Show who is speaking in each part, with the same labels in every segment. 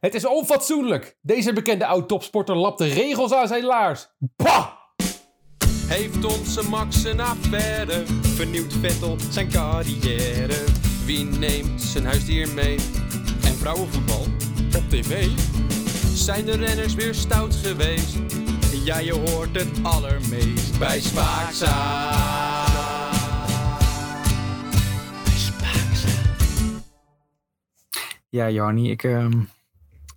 Speaker 1: Het is onfatsoenlijk. Deze bekende oud-topsporter lapt de regels aan zijn laars. Bah!
Speaker 2: Heeft onze Max een affaire? Vernieuwt Vettel zijn carrière? Wie neemt zijn huisdier mee? En vrouwenvoetbal op tv? Zijn de renners weer stout geweest? Ja, je hoort het allermeest bij Spaakzaam.
Speaker 3: Ja, Jarni, ik, ehm,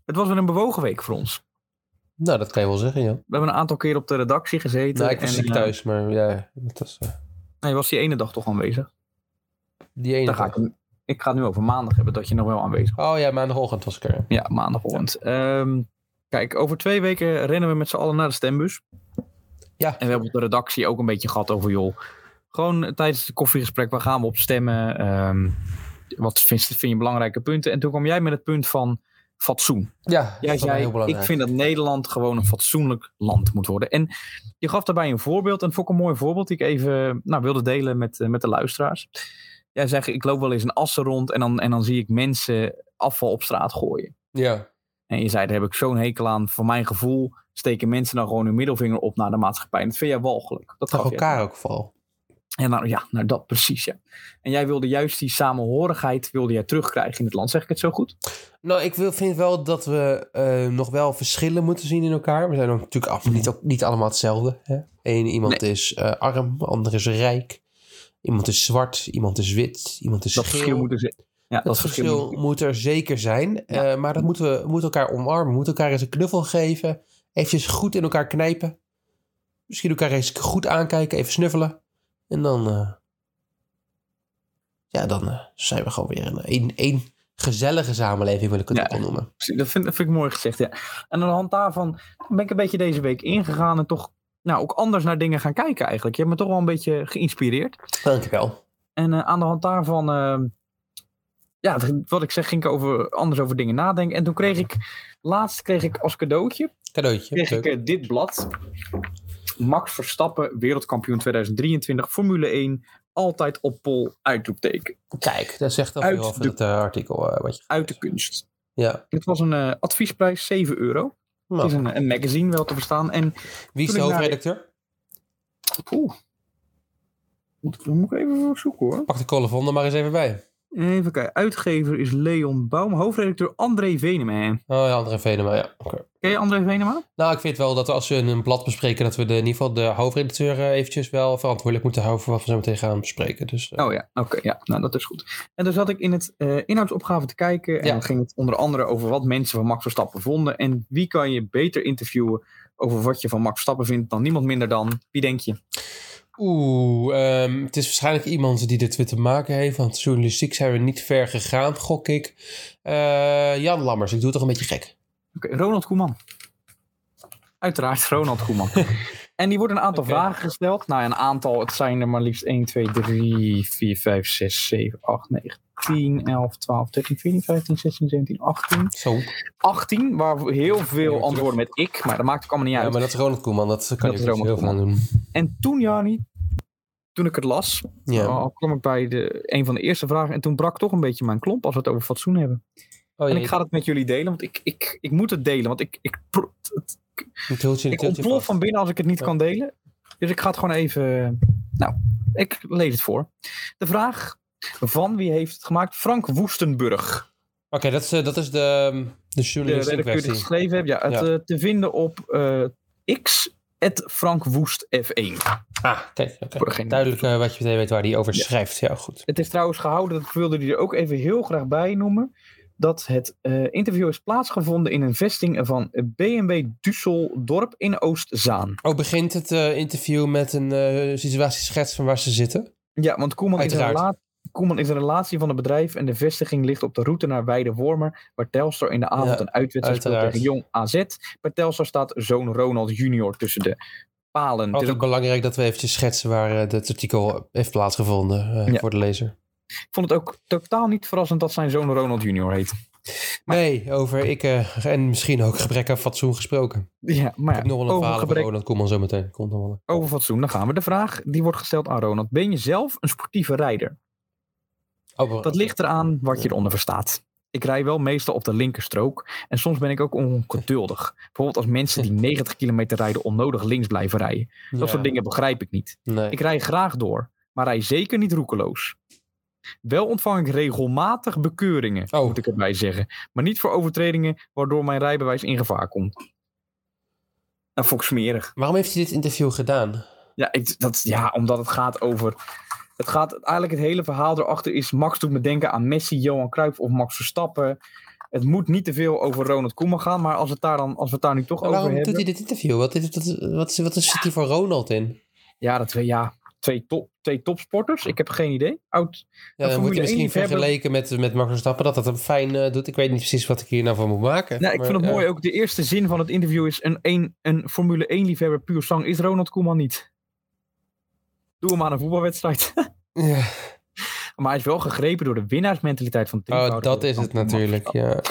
Speaker 3: het was weer een bewogen week voor ons.
Speaker 1: Nou, dat kan je wel zeggen, ja.
Speaker 3: We hebben een aantal keer op de redactie gezeten.
Speaker 1: Nou, ik was
Speaker 3: en,
Speaker 1: ziek
Speaker 3: eh,
Speaker 1: thuis, maar ja, dat was eh,
Speaker 3: nee, je was die ene dag toch aanwezig.
Speaker 1: die ene.
Speaker 3: Daar ga
Speaker 1: dag.
Speaker 3: ik, ik ga het nu over maandag hebben, dat je nog wel aanwezig
Speaker 1: Oh ja, maandagochtend was ik er. ja.
Speaker 3: bent. Ja, maandagochtend. Ehm, kijk, over twee weken rennen we met z'n allen naar de stembus.
Speaker 1: Ja.
Speaker 3: En we hebben op de redactie ook een beetje gehad over, joh, gewoon tijdens het koffiegesprek, waar gaan we op stemmen? Ehm, wat vind, vind je belangrijke punten? En toen kwam jij met het punt van fatsoen.
Speaker 1: Ja,
Speaker 3: Jij
Speaker 1: dat was wel heel
Speaker 3: zei,
Speaker 1: belangrijk.
Speaker 3: ik vind dat Nederland gewoon een fatsoenlijk land moet worden. En je gaf daarbij een voorbeeld. En dat vond ik een mooi voorbeeld die ik even nou, wilde delen met, eh, met de luisteraars. Jij zegt, ik loop wel eens een assen rond en dan, en dan zie ik mensen afval op straat gooien.
Speaker 1: Ja,
Speaker 3: En je zei, daar heb ik zo'n hekel aan. Voor mijn gevoel steken mensen dan gewoon hun middelvinger op naar de maatschappij. En dat vind jij walgelijk. Dat
Speaker 1: tegen
Speaker 3: gaf jij.
Speaker 1: elkaar ook vooral.
Speaker 3: En nou, ja, nou dat precies, ja. En jij wilde juist die samenhorigheid wilde jij terugkrijgen in het land. Zeg ik het zo goed?
Speaker 1: Nou, ik wil, vind wel dat we eh, nog wel verschillen moeten zien in elkaar. We zijn ook natuurlijk af, niet, ook niet allemaal hetzelfde. Hè? Eén iemand is eh, arm, ander is rijk. Iemand is zwart, iemand is wit, iemand is
Speaker 3: Dat
Speaker 1: geel.
Speaker 3: verschil moet er zijn. Ja, dat,
Speaker 1: dat
Speaker 3: verschil,
Speaker 1: verschil
Speaker 3: moet er-
Speaker 1: moet er zeker zijn.
Speaker 3: Ja.
Speaker 1: eh, maar dat moeten we, we moeten elkaar omarmen. We moeten elkaar eens een knuffel geven. Even goed in elkaar knijpen. Misschien elkaar eens goed aankijken. Even snuffelen. En dan... eh, ja, dan eh, zijn we gewoon weer een, een, een gezellige samenleving, wil ik het
Speaker 3: Ja.
Speaker 1: ook wel noemen.
Speaker 3: Precies, Dat vind, dat vind ik mooi gezegd, ja. En aan de hand daarvan ben ik een beetje deze week ingegaan en toch nou, ook anders naar dingen gaan kijken eigenlijk. Je hebt me toch wel een beetje geïnspireerd.
Speaker 1: Dankjewel.
Speaker 3: En eh, aan de hand daarvan, eh, ja, d- wat ik zeg, ging ik over, anders over dingen nadenken. En toen kreeg ik, laatst kreeg ik als cadeautje,
Speaker 1: Cadeautje.
Speaker 3: kreeg ik
Speaker 1: Leuk.
Speaker 3: eh, dit blad. Max Verstappen, wereldkampioen 2023, Formule 1, altijd op pol, uitroepteken,
Speaker 1: Kijk, dat zegt al
Speaker 3: Uit
Speaker 1: veel over
Speaker 3: de-
Speaker 1: het eh, artikel eh, wat je...
Speaker 3: uit de kunst.
Speaker 1: Ja.
Speaker 3: Het was een eh, adviesprijs, 7 euro. Het
Speaker 1: Nou,
Speaker 3: is een, een magazine, wel te verstaan. En
Speaker 1: wie is de
Speaker 3: toen ik naar-
Speaker 1: hoofdredacteur?
Speaker 3: Oeh. Moet ik, daar moet ik even voor zoeken hoor.
Speaker 1: Pak de column er maar eens even bij.
Speaker 3: Even kijken. Uitgever is Leon Baum. Hoofdredacteur André Venema.
Speaker 1: Oh ja, André Venema, ja. Oké.
Speaker 3: Ken je André Venema?
Speaker 1: Nou, ik vind wel dat als we een blad bespreken, dat we de, in ieder geval de hoofdredacteur eh, eventjes wel verantwoordelijk moeten houden voor wat we zo meteen gaan bespreken. Dus eh,
Speaker 3: Oh ja, oké. ja, nou dat is goed. En dan zat ik in het eh, inhoudsopgave te kijken. En
Speaker 1: Ja.
Speaker 3: dan ging het onder andere over wat mensen van Max Verstappen vonden. En wie kan je beter interviewen over wat je van Max Verstappen vindt dan niemand minder dan. Wie denk je?
Speaker 1: oeh, ehm, het is waarschijnlijk iemand die dit weer te maken heeft, want journalistiek zijn we niet ver gegaan, gok ik. Eh, Jan Lammers, ik doe het toch een beetje gek.
Speaker 3: Oké, Ronald Koeman. Uiteraard Ronald Koeman. en die wordt een aantal
Speaker 1: Oké.
Speaker 3: vragen gesteld. Nou, ja, een aantal. Het zijn er maar liefst 1, 2, 3, 4, 5, 6, 7, 8, 9, 10, 11, 12, 13, 14, 15, 16, 17, 18.
Speaker 1: Zo.
Speaker 3: 18, waar heel veel
Speaker 1: Ja,
Speaker 3: antwoorden met ik. Maar dat maakt ook allemaal niet
Speaker 1: Ja,
Speaker 3: uit.
Speaker 1: maar dat is Ronald Koeman, dat kan
Speaker 3: Dat
Speaker 1: je
Speaker 3: is
Speaker 1: ook niet
Speaker 3: Ronald
Speaker 1: heel veel aan doen.
Speaker 3: En toen, Jani, toen ik het las,
Speaker 1: Ja. Oh,
Speaker 3: al kwam ik bij de, een van de eerste vragen. En toen brak toch een beetje mijn klomp als we het over fatsoen hebben.
Speaker 1: Oh,
Speaker 3: En
Speaker 1: jee,
Speaker 3: ik ga dat met jullie delen, want ik, ik, ik moet het delen. Want ik, ik, pro- het,
Speaker 1: het hield je- het hield
Speaker 3: Ik
Speaker 1: je
Speaker 3: ontplof
Speaker 1: vast.
Speaker 3: van binnen als ik het niet
Speaker 1: Ja.
Speaker 3: kan delen. Dus ik ga het gewoon even. Nou, ik lees het voor. De vraag van wie heeft het gemaakt? Frank Woestenburg.
Speaker 1: Oké, dat, is, eh, dat is de, ehm, de
Speaker 3: De
Speaker 1: journalist in
Speaker 3: redacteur die het
Speaker 1: kwestie.
Speaker 3: geschreven heeft. Ja, het
Speaker 1: Ja.
Speaker 3: eh, te vinden op eh, X. Frank Woest F1.
Speaker 1: Ah, kijk, oké.
Speaker 3: Voor degene-
Speaker 1: duidelijk eh, wat je meteen weet waar hij over
Speaker 3: Ja.
Speaker 1: schrijft. Ja, goed.
Speaker 3: Het is trouwens gehouden, dat wilde hij er ook even heel graag bij noemen. Dat het eh, interview is plaatsgevonden in een vesting van BMW Düsseldorp in Oostzaan.
Speaker 1: Oh, begint het eh, interview met een eh, situatieschets van waar ze zitten?
Speaker 3: Ja, want Koeman is, een
Speaker 1: Uiteraard.
Speaker 3: rela- Koeman is een relatie van het bedrijf en de vestiging ligt op de route naar Weidewormer, waar Telstar in de avond
Speaker 1: Ja,
Speaker 3: een uitwedstrijd speelt
Speaker 1: uiteraard.
Speaker 3: tegen Jong AZ. Bij Telstar staat zoon Ronald junior tussen de palen. Dus Het is
Speaker 1: Altijd
Speaker 3: ook-
Speaker 1: belangrijk dat we eventjes schetsen waar eh, dit artikel heeft plaatsgevonden eh,
Speaker 3: Ja.
Speaker 1: voor de lezer.
Speaker 3: ik vond het ook totaal niet verrassend dat zijn zoon Ronald junior heet.
Speaker 1: Nee, over ik eh, en misschien ook gebrek aan fatsoen gesproken.
Speaker 3: Ja,
Speaker 1: Ik
Speaker 3: maar
Speaker 1: heb
Speaker 3: ja,
Speaker 1: nog wel een
Speaker 3: over,
Speaker 1: verhaal van
Speaker 3: gebrek,
Speaker 1: Ronald Koeman zometeen. Komt dan wel.
Speaker 3: over fatsoen, dan gaan we. De vraag die wordt gesteld aan Ronald. Ben je zelf een sportieve rijder?
Speaker 1: Oh,
Speaker 3: Dat ligt eraan wat je eronder verstaat. ik rij wel meestal op de linkerstrook. En soms ben ik ook ongeduldig. Bijvoorbeeld als mensen die 90 kilometer rijden onnodig links blijven rijden. Dat
Speaker 1: Ja.
Speaker 3: soort dingen begrijp ik niet.
Speaker 1: Nee.
Speaker 3: Ik rij graag door, maar rij zeker niet roekeloos. Wel ontvang ik regelmatig bekeuringen,
Speaker 1: Oh.
Speaker 3: moet ik erbij zeggen. Maar niet voor overtredingen waardoor mijn rijbewijs in gevaar komt. Nou, vond ik smerig.
Speaker 1: Waarom heeft hij dit interview gedaan?
Speaker 3: Ja, ik, dat, ja, omdat het gaat over. Het gaat eigenlijk het hele verhaal erachter is. Max doet me denken aan Messi, Johan Cruijff of Max Verstappen. Het moet niet te veel over Ronald Koeman gaan, maar als we het daar dan, als we het daar nu toch
Speaker 1: En
Speaker 3: over
Speaker 1: waarom
Speaker 3: hebben.
Speaker 1: doet hij dit interview? Wat, is, wat, is- wat, is- wat zit hier voor Ronald in?
Speaker 3: Ja, dat twee, ja, twee, top, twee topsporters. Ik heb geen idee. Oud.
Speaker 1: Ja, dan
Speaker 3: Formule
Speaker 1: wordt hij
Speaker 3: 1
Speaker 1: misschien
Speaker 3: liefhebber.
Speaker 1: vergeleken met, met Max Verstappen dat dat hem fijn eh, doet. Ik weet niet precies wat ik hier nou van moet maken.
Speaker 3: Nou, ik
Speaker 1: maar,
Speaker 3: vind het
Speaker 1: ja.
Speaker 3: mooi ook. De eerste zin van het interview is: een, een, een Formule 1 liefhebber puur zang is Ronald Koeman niet. Doe hem aan een voetbalwedstrijd.
Speaker 1: eh, Ja.
Speaker 3: maar hij is wel gegrepen door de winnaarsmentaliteit van het
Speaker 1: Oh,
Speaker 3: drievoudige
Speaker 1: dat is het
Speaker 3: wereldkampioen Max
Speaker 1: natuurlijk.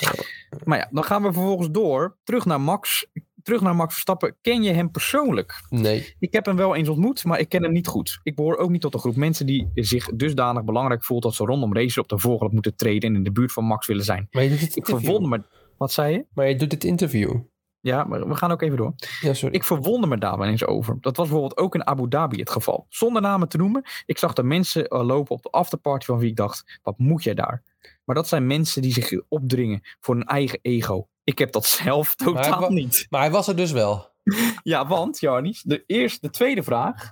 Speaker 1: Ja.
Speaker 3: Maar ja, dan gaan we vervolgens door. Terug naar Max. Terug naar Max Verstappen. Ken je hem persoonlijk?
Speaker 1: Nee.
Speaker 3: Ik heb hem wel eens ontmoet, maar ik ken hem niet goed. Ik behoor ook niet tot de groep mensen die zich dusdanig belangrijk voelt dat ze rondom races op de voorgrond moeten treden en in de buurt van Max willen zijn.
Speaker 1: Maar je doet het
Speaker 3: Ik
Speaker 1: interview.
Speaker 3: verwonder me. Wat zei je?
Speaker 1: Maar je doet het interview.
Speaker 3: Ja, maar we gaan ook even door.
Speaker 1: Ja, sorry.
Speaker 3: Ik verwonder me daar wel eens over. Dat was bijvoorbeeld ook in Abu Dhabi het geval. Zonder namen te noemen, ik zag de mensen eh, lopen op de afterparty van wie ik dacht, wat moet jij daar? Maar dat zijn mensen die zich opdringen voor hun eigen ego. Ik heb dat zelf totaal
Speaker 1: wa-
Speaker 3: niet.
Speaker 1: Maar hij was er dus wel.
Speaker 3: Ja, want, Jarnies, de, eerste, de tweede vraag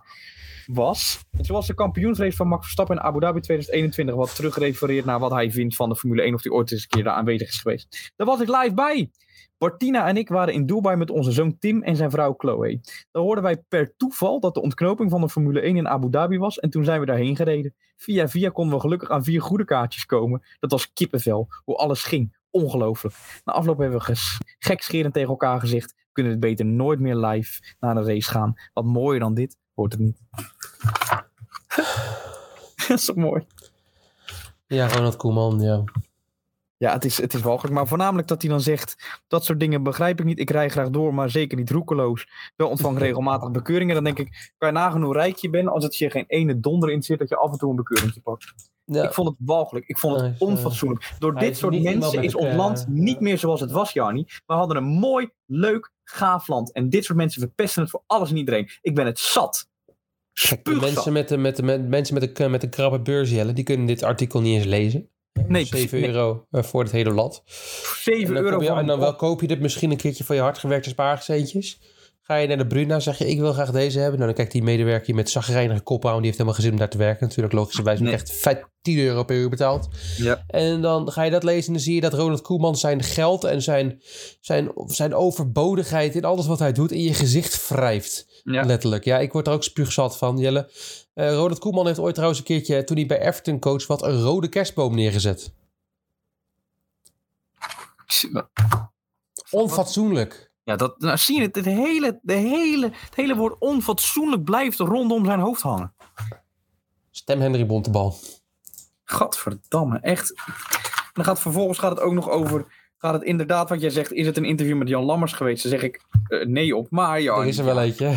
Speaker 3: was... Het was de kampioensrace van Max Verstappen in Abu Dhabi 2021... wat terugrefereert naar wat hij vindt van de Formule 1... of die ooit eens een keer daar aanwezig is geweest. Daar was ik live bij. Martina en ik waren in Dubai met onze zoon Tim en zijn vrouw Chloe. Dan hoorden wij per toeval dat de ontknoping van de Formule 1 in Abu Dhabi was... en toen zijn we daarheen gereden. Via via konden we gelukkig aan vier goede kaartjes komen. Dat was kippenvel, hoe alles ging. Ongelooflijk. Na afloop hebben we ges- gekscherend tegen elkaar gezegd kunnen het beter nooit meer live naar een race gaan. Wat mooier dan dit wordt het niet. dat is toch mooi?
Speaker 1: Ja, Ronald Koeman, ja.
Speaker 3: Ja, het is, het is walgelijk. Maar voornamelijk dat hij dan zegt, dat soort dingen begrijp ik niet. Ik rij graag door, maar zeker niet roekeloos. Wel ontvang ik regelmatig bekeuringen. Dan denk ik, kan je nagaan hoe rijk je bent als het je geen ene donder in zit dat je af en toe een bekeuring pakt.
Speaker 1: ja.
Speaker 3: Ik vond het walgelijk. Ik vond het
Speaker 1: Hij is, eh,
Speaker 3: onfatsoenlijk. Door
Speaker 1: hij
Speaker 3: dit
Speaker 1: is
Speaker 3: soort
Speaker 1: niet iemand
Speaker 3: mensen
Speaker 1: met
Speaker 3: is
Speaker 1: het,
Speaker 3: ons
Speaker 1: eh,
Speaker 3: land niet meer zoals het was, Jarni. We hadden een mooi, leuk, gaaf land. En dit soort mensen verpesten het voor alles en iedereen. Ik ben het zat.
Speaker 1: Kijk, de
Speaker 3: Spuugzat.
Speaker 1: mensen met, de, met, de, met, mensen met de, met de krabbe beurs, Jelle, die kunnen dit artikel niet eens lezen.
Speaker 3: Nee,
Speaker 1: 7
Speaker 3: nee.
Speaker 1: euro eh, voor het hele lat.
Speaker 3: 7
Speaker 1: en dan,
Speaker 3: euro
Speaker 1: kom je-
Speaker 3: voor
Speaker 1: en
Speaker 3: een
Speaker 1: dan wel
Speaker 3: kop.
Speaker 1: koop je dit misschien een keertje voor je hardgewerkte spaarcentjes. Ga je naar de Bruna, zeg je ik wil graag deze hebben. Nou, dan kijkt die medewerker hier met zagrijnige kop aan. Die heeft helemaal geen zin om daar te werken. Natuurlijk logischerwijs
Speaker 3: Nee.
Speaker 1: echt 5, 10 euro per uur betaald.
Speaker 3: Ja.
Speaker 1: En dan ga je dat lezen en dan zie je dat Ronald Koeman zijn geld en zijn, zijn, zijn overbodigheid in alles wat hij doet in je gezicht wrijft.
Speaker 3: Ja.
Speaker 1: Letterlijk. Ja, ik word er ook spuugzat van, Jelle. Eh Ronald Koeman heeft ooit trouwens een keertje, toen hij bij Everton coach was, een rode kerstboom neergezet. Onfatsoenlijk.
Speaker 3: Ja, dat, nou, zie je het, het hele, de hele, het hele woord onfatsoenlijk blijft rondom zijn hoofd hangen.
Speaker 1: Stem Henry Bontebal.
Speaker 3: Gadverdamme, echt. En dan gaat, vervolgens gaat het ook nog over, gaat het inderdaad wat jij zegt, is het een interview met Jan Lammers geweest? Daar zeg ik eh, nee op, maar
Speaker 1: Er
Speaker 3: Jarni,
Speaker 1: is er wel eentje.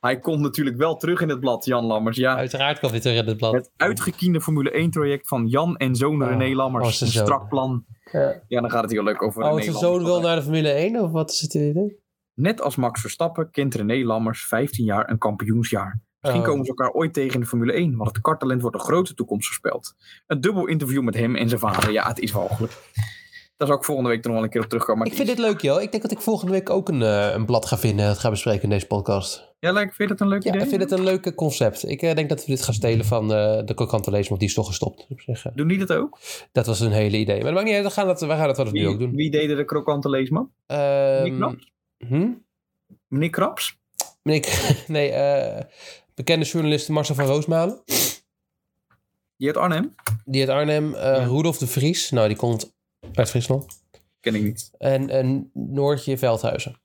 Speaker 3: hij komt natuurlijk wel terug in het blad, Jan Lammers. Ja,
Speaker 1: Uiteraard kan dit er in het blad.
Speaker 3: het uitgekiende Formule 1 traject van Jan en zoon
Speaker 1: Oh,
Speaker 3: René
Speaker 1: oh,
Speaker 3: Lammers.
Speaker 1: zijn
Speaker 3: een
Speaker 1: zoon.
Speaker 3: strak plan.
Speaker 1: Ja.
Speaker 3: Ja, dan gaat het heel leuk over
Speaker 1: Oh,
Speaker 3: René
Speaker 1: is zijn
Speaker 3: Lammers.
Speaker 1: zoon wil naar de Formule 1 of wat is het idee?
Speaker 3: Net als Max Verstappen kent René Lammers 15 jaar een kampioensjaar. Misschien
Speaker 1: Oh.
Speaker 3: komen ze elkaar ooit tegen in de Formule 1, want het karttalent wordt een grote toekomst voorspeld. Een dubbel interview met hem en zijn vader. Ja, het is walgelijk. Daar zou ik volgende week er nog wel een keer op terugkomen. maar
Speaker 1: Ik vind
Speaker 3: het
Speaker 1: dit leuk, joh. Ik denk dat ik volgende week ook een, eh, een blad ga vinden. en Dat ga bespreken in deze podcast.
Speaker 3: is- Ja, lijkt- vind je dat een leuk
Speaker 1: Ja,
Speaker 3: idee?
Speaker 1: ik vind het een leuk eh, concept. Ik eh, denk dat we dit gaan stelen van eh, de krokante lezer, want die is toch gestopt. Op zich, eh,
Speaker 3: Doen die dat ook?
Speaker 1: dat was een hele idee. Maar dat maakt niet uit. We gaan dat, we gaan dat wel eens nu ook doen.
Speaker 3: wie deden de krokante leesman? Nick
Speaker 1: Ehm
Speaker 3: Knaps?
Speaker 1: hm?
Speaker 3: Meneer Kraps?
Speaker 1: Nick, nee, eh, bekende journalist Marcel van Roosmalen.
Speaker 3: Die uit Arnhem?
Speaker 1: Die uit Arnhem. eh,
Speaker 3: Ja.
Speaker 1: Rudolf de Vries. Nou, die komt uit Friesland.
Speaker 3: Ken ik niet.
Speaker 1: En, en Noortje Veldhuizen.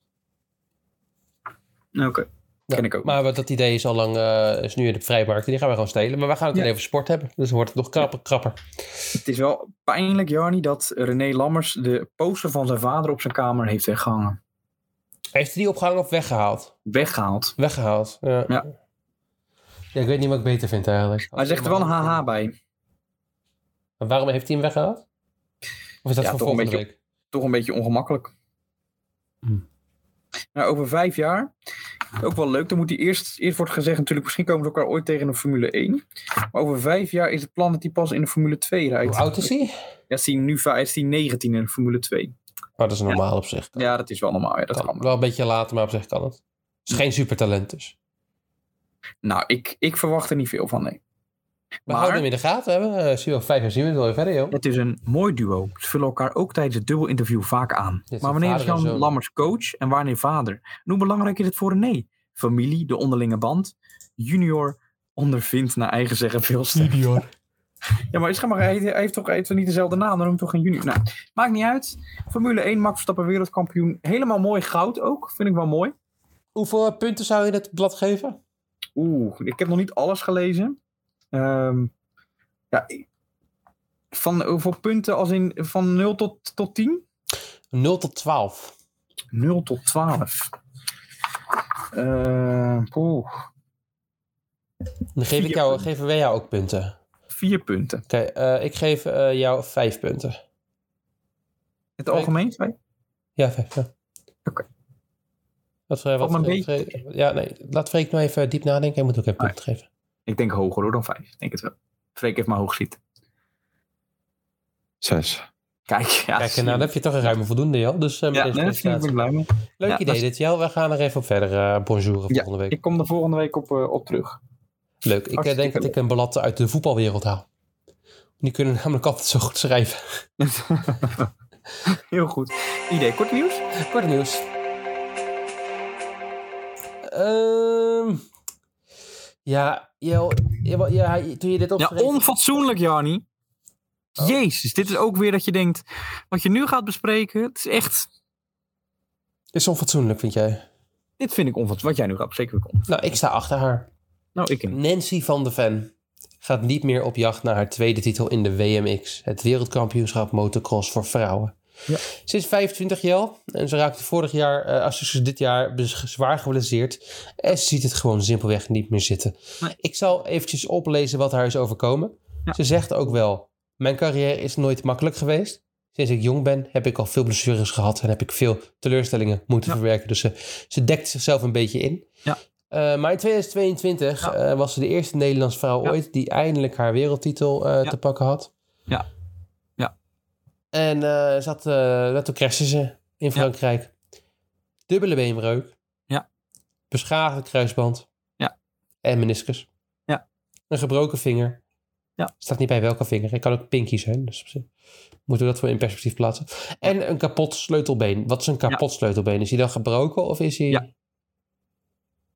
Speaker 3: Oké.
Speaker 1: Ja.
Speaker 3: Ken ik ook.
Speaker 1: Maar wat dat idee is al lang eh, is nu in de vrijmarkt. Die gaan we gewoon stelen. Maar we gaan het
Speaker 3: Ja.
Speaker 1: alleen over sport hebben. Dus dan wordt het nog krapper, krapper.
Speaker 3: Het is wel pijnlijk, Jarni, dat René Lammers de poster van zijn vader op zijn kamer heeft weggehangen.
Speaker 1: Heeft hij die opgehangen of weggehaald?
Speaker 3: Weggehaald.
Speaker 1: Weggehaald. Ja.
Speaker 3: Ja.
Speaker 1: Ja, ik weet niet wat ik beter vind eigenlijk.
Speaker 3: Hij zegt er wel een haha bij.
Speaker 1: Maar waarom heeft hij hem weggehaald? Of is dat
Speaker 3: Ja,
Speaker 1: voor
Speaker 3: toch een
Speaker 1: volgende
Speaker 3: beetje-
Speaker 1: week?
Speaker 3: toch een beetje ongemakkelijk.
Speaker 1: Hm.
Speaker 3: Nou, over vijf jaar, ook wel leuk, dan moet die eerst, eerst wordt gezegd natuurlijk, misschien komen ze elkaar ooit tegen in de Formule 1. Maar over vijf jaar is het plan dat hij pas in de Formule 2 rijdt.
Speaker 1: Hoe oud is hij?
Speaker 3: Ja, is hij nu vij- is hij 19 in de Formule 2.
Speaker 1: Oh, dat is normaal op zich.
Speaker 3: Ja, dat is wel normaal, ja, dat
Speaker 1: Kan.
Speaker 3: kan. wel.
Speaker 1: Wel een beetje later, maar op zich kan het. Is geen supertalent dus.
Speaker 3: Nou, ik, ik verwacht er niet veel van, nee.
Speaker 1: We
Speaker 3: Maar-
Speaker 1: houden hem in de gaten. Hè? We, eh, zien we over vijf jaar zien we het wel weer verder, joh.
Speaker 3: Het is een mooi duo. Ze vullen elkaar ook tijdens het dubbelinterview vaak aan.
Speaker 1: is
Speaker 3: maar
Speaker 1: een
Speaker 3: wanneer is
Speaker 1: vader en
Speaker 3: Jan
Speaker 1: zoon.
Speaker 3: Lammers coach en wanneer vader? En hoe belangrijk is het voor René? Familie, de onderlinge band. Junior ondervindt naar eigen zeggen veel sterk.
Speaker 1: Junior.
Speaker 3: Ja, maar, zeg maar hij, hij heeft toch, hij heeft toch niet dezelfde naam, dan noemt toch geen junior. Nou, maakt niet uit. Formule 1, Max Verstappen wereldkampioen. Helemaal mooi goud ook, vind ik wel mooi.
Speaker 1: Hoeveel eh, punten zou je dat blad geven?
Speaker 3: Oeh, ik heb nog niet alles gelezen. Ehm, ja, ik- van hoeveel punten als in van 0 tot, tot 10?
Speaker 1: 0 tot 12.
Speaker 3: 0 tot 12. Eh, poeh,
Speaker 1: Dan geef ik
Speaker 3: Vier
Speaker 1: jou,
Speaker 3: punten.
Speaker 1: geven wij jou ook punten.
Speaker 3: vier punten.
Speaker 1: Oké, eh, ik geef eh, jou vijf punten.
Speaker 3: Het algemeen? Twee?
Speaker 1: Ja, vijf. Ja.
Speaker 3: Oké.
Speaker 1: Wat, eh, wat,
Speaker 3: Valt me een
Speaker 1: eh, Freek- ja, nee, laat Freek nou even diep nadenken. Hij moet ook even
Speaker 3: Nee.
Speaker 1: punten geven.
Speaker 3: Ik denk hoger hoor dan vijf. Ik denk het wel. Freek heeft maar hoog zitten.
Speaker 4: Zes.
Speaker 3: Kijk, ja,
Speaker 1: Kijk,
Speaker 3: zie
Speaker 1: en nou,
Speaker 3: je.
Speaker 1: dan heb je toch een ruime voldoende, joh. Dus eh, met
Speaker 3: ja,
Speaker 1: deze
Speaker 3: nee, dat vind ik
Speaker 1: presentatie.
Speaker 3: ben blij mee.
Speaker 1: Leuk
Speaker 3: Ja,
Speaker 1: idee
Speaker 3: dat
Speaker 1: dit, joh. We gaan er even op verder eh bonjouren
Speaker 3: Ja,
Speaker 1: volgende week.
Speaker 3: Ik kom er volgende week op, eh, op terug.
Speaker 1: Leuk. Ik eh, denk
Speaker 3: hartstikke
Speaker 1: dat ik een blad uit de voetbalwereld haal. Die kunnen namelijk altijd zo goed schrijven.
Speaker 3: Heel goed. Idee, kort nieuws?
Speaker 1: Kort nieuws. Ehm, ja, Jel, Jel- ja, hij- toen je dit
Speaker 3: Ja,
Speaker 1: opschreef...
Speaker 3: onfatsoenlijk, Jani.
Speaker 1: Oh.
Speaker 3: Jezus, dit is ook weer dat je denkt, wat je nu gaat bespreken, het is echt,
Speaker 1: is onfatsoenlijk, vind jij?
Speaker 3: dit vind ik onfatsoenlijk. Wat jij nu gaat bespreken, vind ik on-
Speaker 1: Nou, ik sta achter haar.
Speaker 3: Nou, ik niet.
Speaker 1: Nancy van de Ven gaat niet meer op jacht naar haar tweede titel in de WMX. Het wereldkampioenschap motocross voor vrouwen.
Speaker 3: Ja.
Speaker 1: Ze is 25 Jel en ze raakte vorig jaar, eh, als ze dit jaar, bez- zwaar geblesseerd. En ze ziet het gewoon simpelweg niet meer zitten.
Speaker 3: Nee.
Speaker 1: Ik zal eventjes oplezen wat haar is overkomen.
Speaker 3: Ja.
Speaker 1: Ze zegt ook wel, mijn carrière is nooit makkelijk geweest. Sinds ik jong ben heb ik al veel blessures gehad en heb ik veel teleurstellingen moeten
Speaker 3: Ja.
Speaker 1: verwerken. Dus ze, ze dekt zichzelf een beetje in.
Speaker 3: Ja.
Speaker 1: Eh, maar in 2022
Speaker 3: Ja.
Speaker 1: eh, was ze de eerste Nederlandse vrouw
Speaker 3: Ja.
Speaker 1: ooit die eindelijk haar wereldtitel eh,
Speaker 3: Ja.
Speaker 1: te pakken had.
Speaker 3: Ja. Ja.
Speaker 1: En eh, ze had, eh, toen crashte ze in Frankrijk. Dubbele beenbreuk.
Speaker 3: Ja.
Speaker 1: Beschadigd kruisband.
Speaker 3: Ja.
Speaker 1: En meniscus.
Speaker 3: Ja.
Speaker 1: Een gebroken vinger.
Speaker 3: Ja.
Speaker 1: Staat niet bij welke vinger. Het kan ook pinky zijn. Dus op zich moeten we dat voor in perspectief plaatsen. En een kapot sleutelbeen. Wat is een kapot sleutelbeen? Is hij dan gebroken of is hij...
Speaker 3: Ja.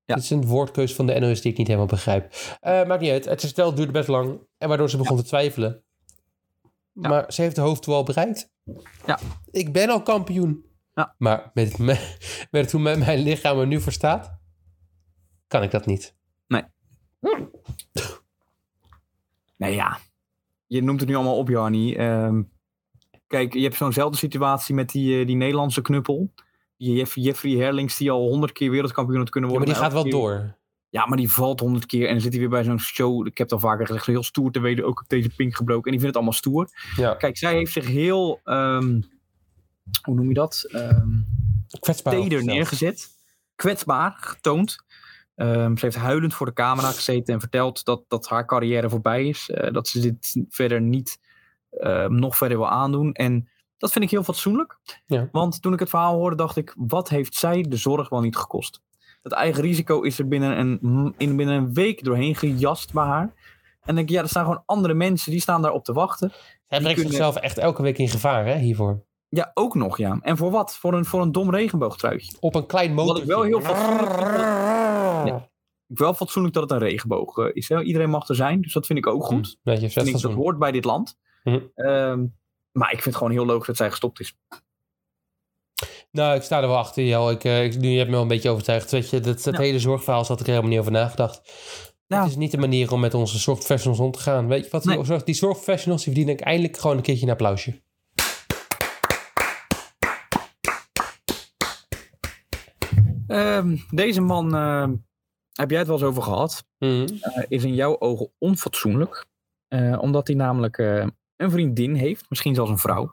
Speaker 3: Ja.
Speaker 1: Dit is een woordkeus van de NOS die ik niet helemaal begrijp. Eh, maakt niet uit. Het herstel duurde best lang. En waardoor ze begon te twijfelen.
Speaker 3: Ja.
Speaker 1: Maar ze heeft de hoofddoel al bereikt.
Speaker 3: Ja.
Speaker 1: Ik ben al kampioen.
Speaker 3: Ja.
Speaker 1: Maar met, met, met hoe mijn, mijn lichaam er nu voor staat... kan ik dat niet.
Speaker 3: Nou ja, je noemt het nu allemaal op, Jani. Ehm, kijk, je hebt zo'nzelfde situatie met die, eh, die Nederlandse knuppel. Die Jeff- Jeffrey Herlings, die al honderd keer wereldkampioen had kunnen
Speaker 1: Ja, maar
Speaker 3: worden.
Speaker 1: die gaat wel
Speaker 3: elke keer-
Speaker 1: door.
Speaker 3: Ja, maar die valt honderd keer en dan zit hij weer bij zo'n show. Ik heb het al vaker gezegd, heel stoer te weten. Ook op deze pink gebroken. En die vindt het allemaal stoer.
Speaker 1: Ja.
Speaker 3: Kijk, zij heeft zich heel, ehm, hoe noem je dat? Ehm,
Speaker 1: Kwetsbaar.
Speaker 3: teder
Speaker 1: opgesteld.
Speaker 3: neergezet. Kwetsbaar getoond. Ehm, ze heeft huilend voor de camera gezeten en verteld dat, dat haar carrière voorbij is. eh, dat ze dit verder niet ehm, nog verder wil aandoen. En dat vind ik heel fatsoenlijk.
Speaker 1: Ja.
Speaker 3: Want toen ik het verhaal hoorde, dacht ik: wat heeft zij de zorg wel niet gekost? Dat eigen risico is er binnen een, in binnen een week doorheen gejast bij haar. En dan denk ik, ja, er staan gewoon andere mensen die staan daarop te wachten.
Speaker 1: Hij
Speaker 3: Die
Speaker 1: brengt
Speaker 3: kunnen-
Speaker 1: zichzelf echt elke week in gevaar hè, hiervoor.
Speaker 3: Ja, ook nog, ja. En voor wat? Voor een, voor een dom regenboogtruitje.
Speaker 1: Op een klein motor.
Speaker 3: Wat ik wel heel fatsoenlijk vind, ik wel fatsoenlijk dat het een regenboog eh, is. Hè? Iedereen mag er zijn, dus dat vind ik ook goed.
Speaker 1: Weet je,
Speaker 3: Vind
Speaker 1: zet
Speaker 3: ik, dat
Speaker 1: fatsoen.
Speaker 3: hoort bij dit land.
Speaker 1: Mhm.
Speaker 3: Ehm, maar ik vind het gewoon heel logisch dat zij gestopt is.
Speaker 1: Nou, ik sta er wel achter, Jel. Ik, eh, ik, nu heb je me wel een beetje overtuigd. Weet je, dat, dat
Speaker 3: Ja.
Speaker 1: hele zorgverhaal zat ik er helemaal niet over nagedacht.
Speaker 3: Ja.
Speaker 1: Het is niet de manier om met onze zorgprofessionals om te gaan. Weet je wat? Die,
Speaker 3: Nee.
Speaker 1: zorg- die zorgprofessionals die verdienen eindelijk gewoon een keertje een applausje.
Speaker 3: Ehm, deze man, ehm, heb jij het wel eens over gehad,
Speaker 1: Mm.
Speaker 3: eh, is in jouw ogen onfatsoenlijk. Eh, omdat hij namelijk eh, een vriendin heeft, misschien zelfs een vrouw.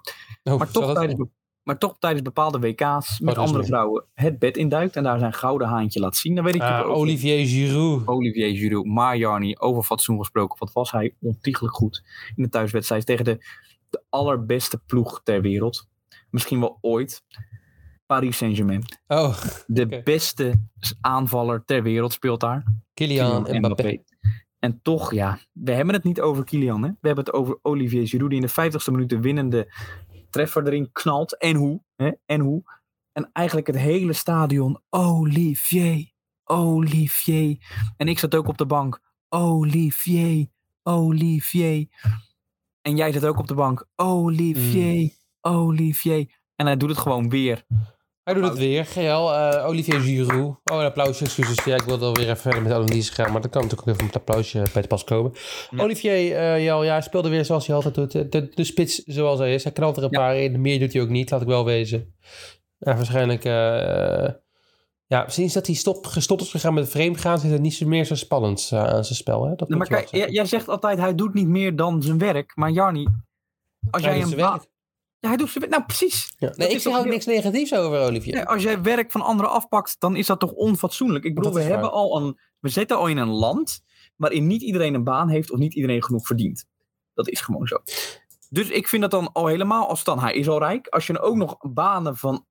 Speaker 1: Oh,
Speaker 3: maar,
Speaker 1: zal
Speaker 3: toch
Speaker 1: dat-
Speaker 3: tijdens, be- maar toch tijdens bepaalde WK's met
Speaker 1: dat is
Speaker 3: andere
Speaker 1: niet.
Speaker 3: vrouwen het bed induikt en daar zijn gouden haantje laat zien. Dan weet ik
Speaker 1: Ah,
Speaker 3: natuurlijk ook
Speaker 1: Olivier Giroud.
Speaker 3: Olivier Giroud, maar Jarni, over fatsoen gesproken. Wat was hij ontiegelijk goed in de thuiswedstrijd tegen de, de allerbeste ploeg ter wereld. Misschien wel ooit. Paris Saint-Germain.
Speaker 1: Oh,
Speaker 3: De
Speaker 1: Oké.
Speaker 3: beste aanvaller ter wereld speelt daar.
Speaker 1: Kylian
Speaker 3: Kylian
Speaker 1: Mbappé.
Speaker 3: En toch, ja, we hebben het niet over Kylian. Hè? We hebben het over Olivier Giroud die in de 50ste minuut de winnende treffer erin knalt. En hoe? Hè? En hoe? En eigenlijk het hele stadion. Olivier, Olivier. En ik zat ook op de bank. Olivier, Olivier. En jij zat ook op de bank. Olivier,
Speaker 1: Hmm.
Speaker 3: Olivier. En hij doet het gewoon weer.
Speaker 1: Hij doet het weer. GL, eh, Olivier Giroud. Oh, een applausje, excuses. Ja, ik wilde alweer even verder met de analyse gaan, maar dat kan natuurlijk ook even met het applausje eh, bij te pas komen.
Speaker 2: Ja.
Speaker 1: Olivier, eh Jel, ja, hij speelde weer zoals hij altijd doet. De, de, de spits zoals hij is. Hij knalt er een
Speaker 3: Ja.
Speaker 1: paar in. Meer doet hij ook niet, laat ik wel wezen. Ja, waarschijnlijk... eh, ja, sinds dat hij stop, gestopt is gegaan met vreemd gaan, is het niet zo meer zo spannend eh, aan zijn spel. Hè? Dat
Speaker 3: Nou,
Speaker 1: moet
Speaker 3: maar
Speaker 1: je wel
Speaker 3: kijk, jij,
Speaker 1: zeggen.
Speaker 3: jij zegt altijd hij doet niet meer dan zijn werk. Maar Jarni,
Speaker 1: Hij
Speaker 3: als jij
Speaker 1: doet
Speaker 3: hem
Speaker 1: zijn
Speaker 3: wa- Ja, hij doet zijn werk. Nou, precies.
Speaker 1: Ja.
Speaker 3: Dat
Speaker 1: Nee, ik
Speaker 3: is
Speaker 1: zeg
Speaker 3: toch
Speaker 1: ook
Speaker 3: heel-
Speaker 1: niks negatiefs over Olivier.
Speaker 3: Nee, als jij werk van anderen afpakt, dan is dat toch onfatsoenlijk? Ik bedoel,
Speaker 1: Dat
Speaker 3: we,
Speaker 1: is
Speaker 3: hebben al een, we zitten al in een land waarin niet iedereen een baan heeft of niet iedereen genoeg verdient. Dat is gewoon zo. Dus ik vind dat dan al helemaal als dan hij is al rijk. Als je dan ook nog banen van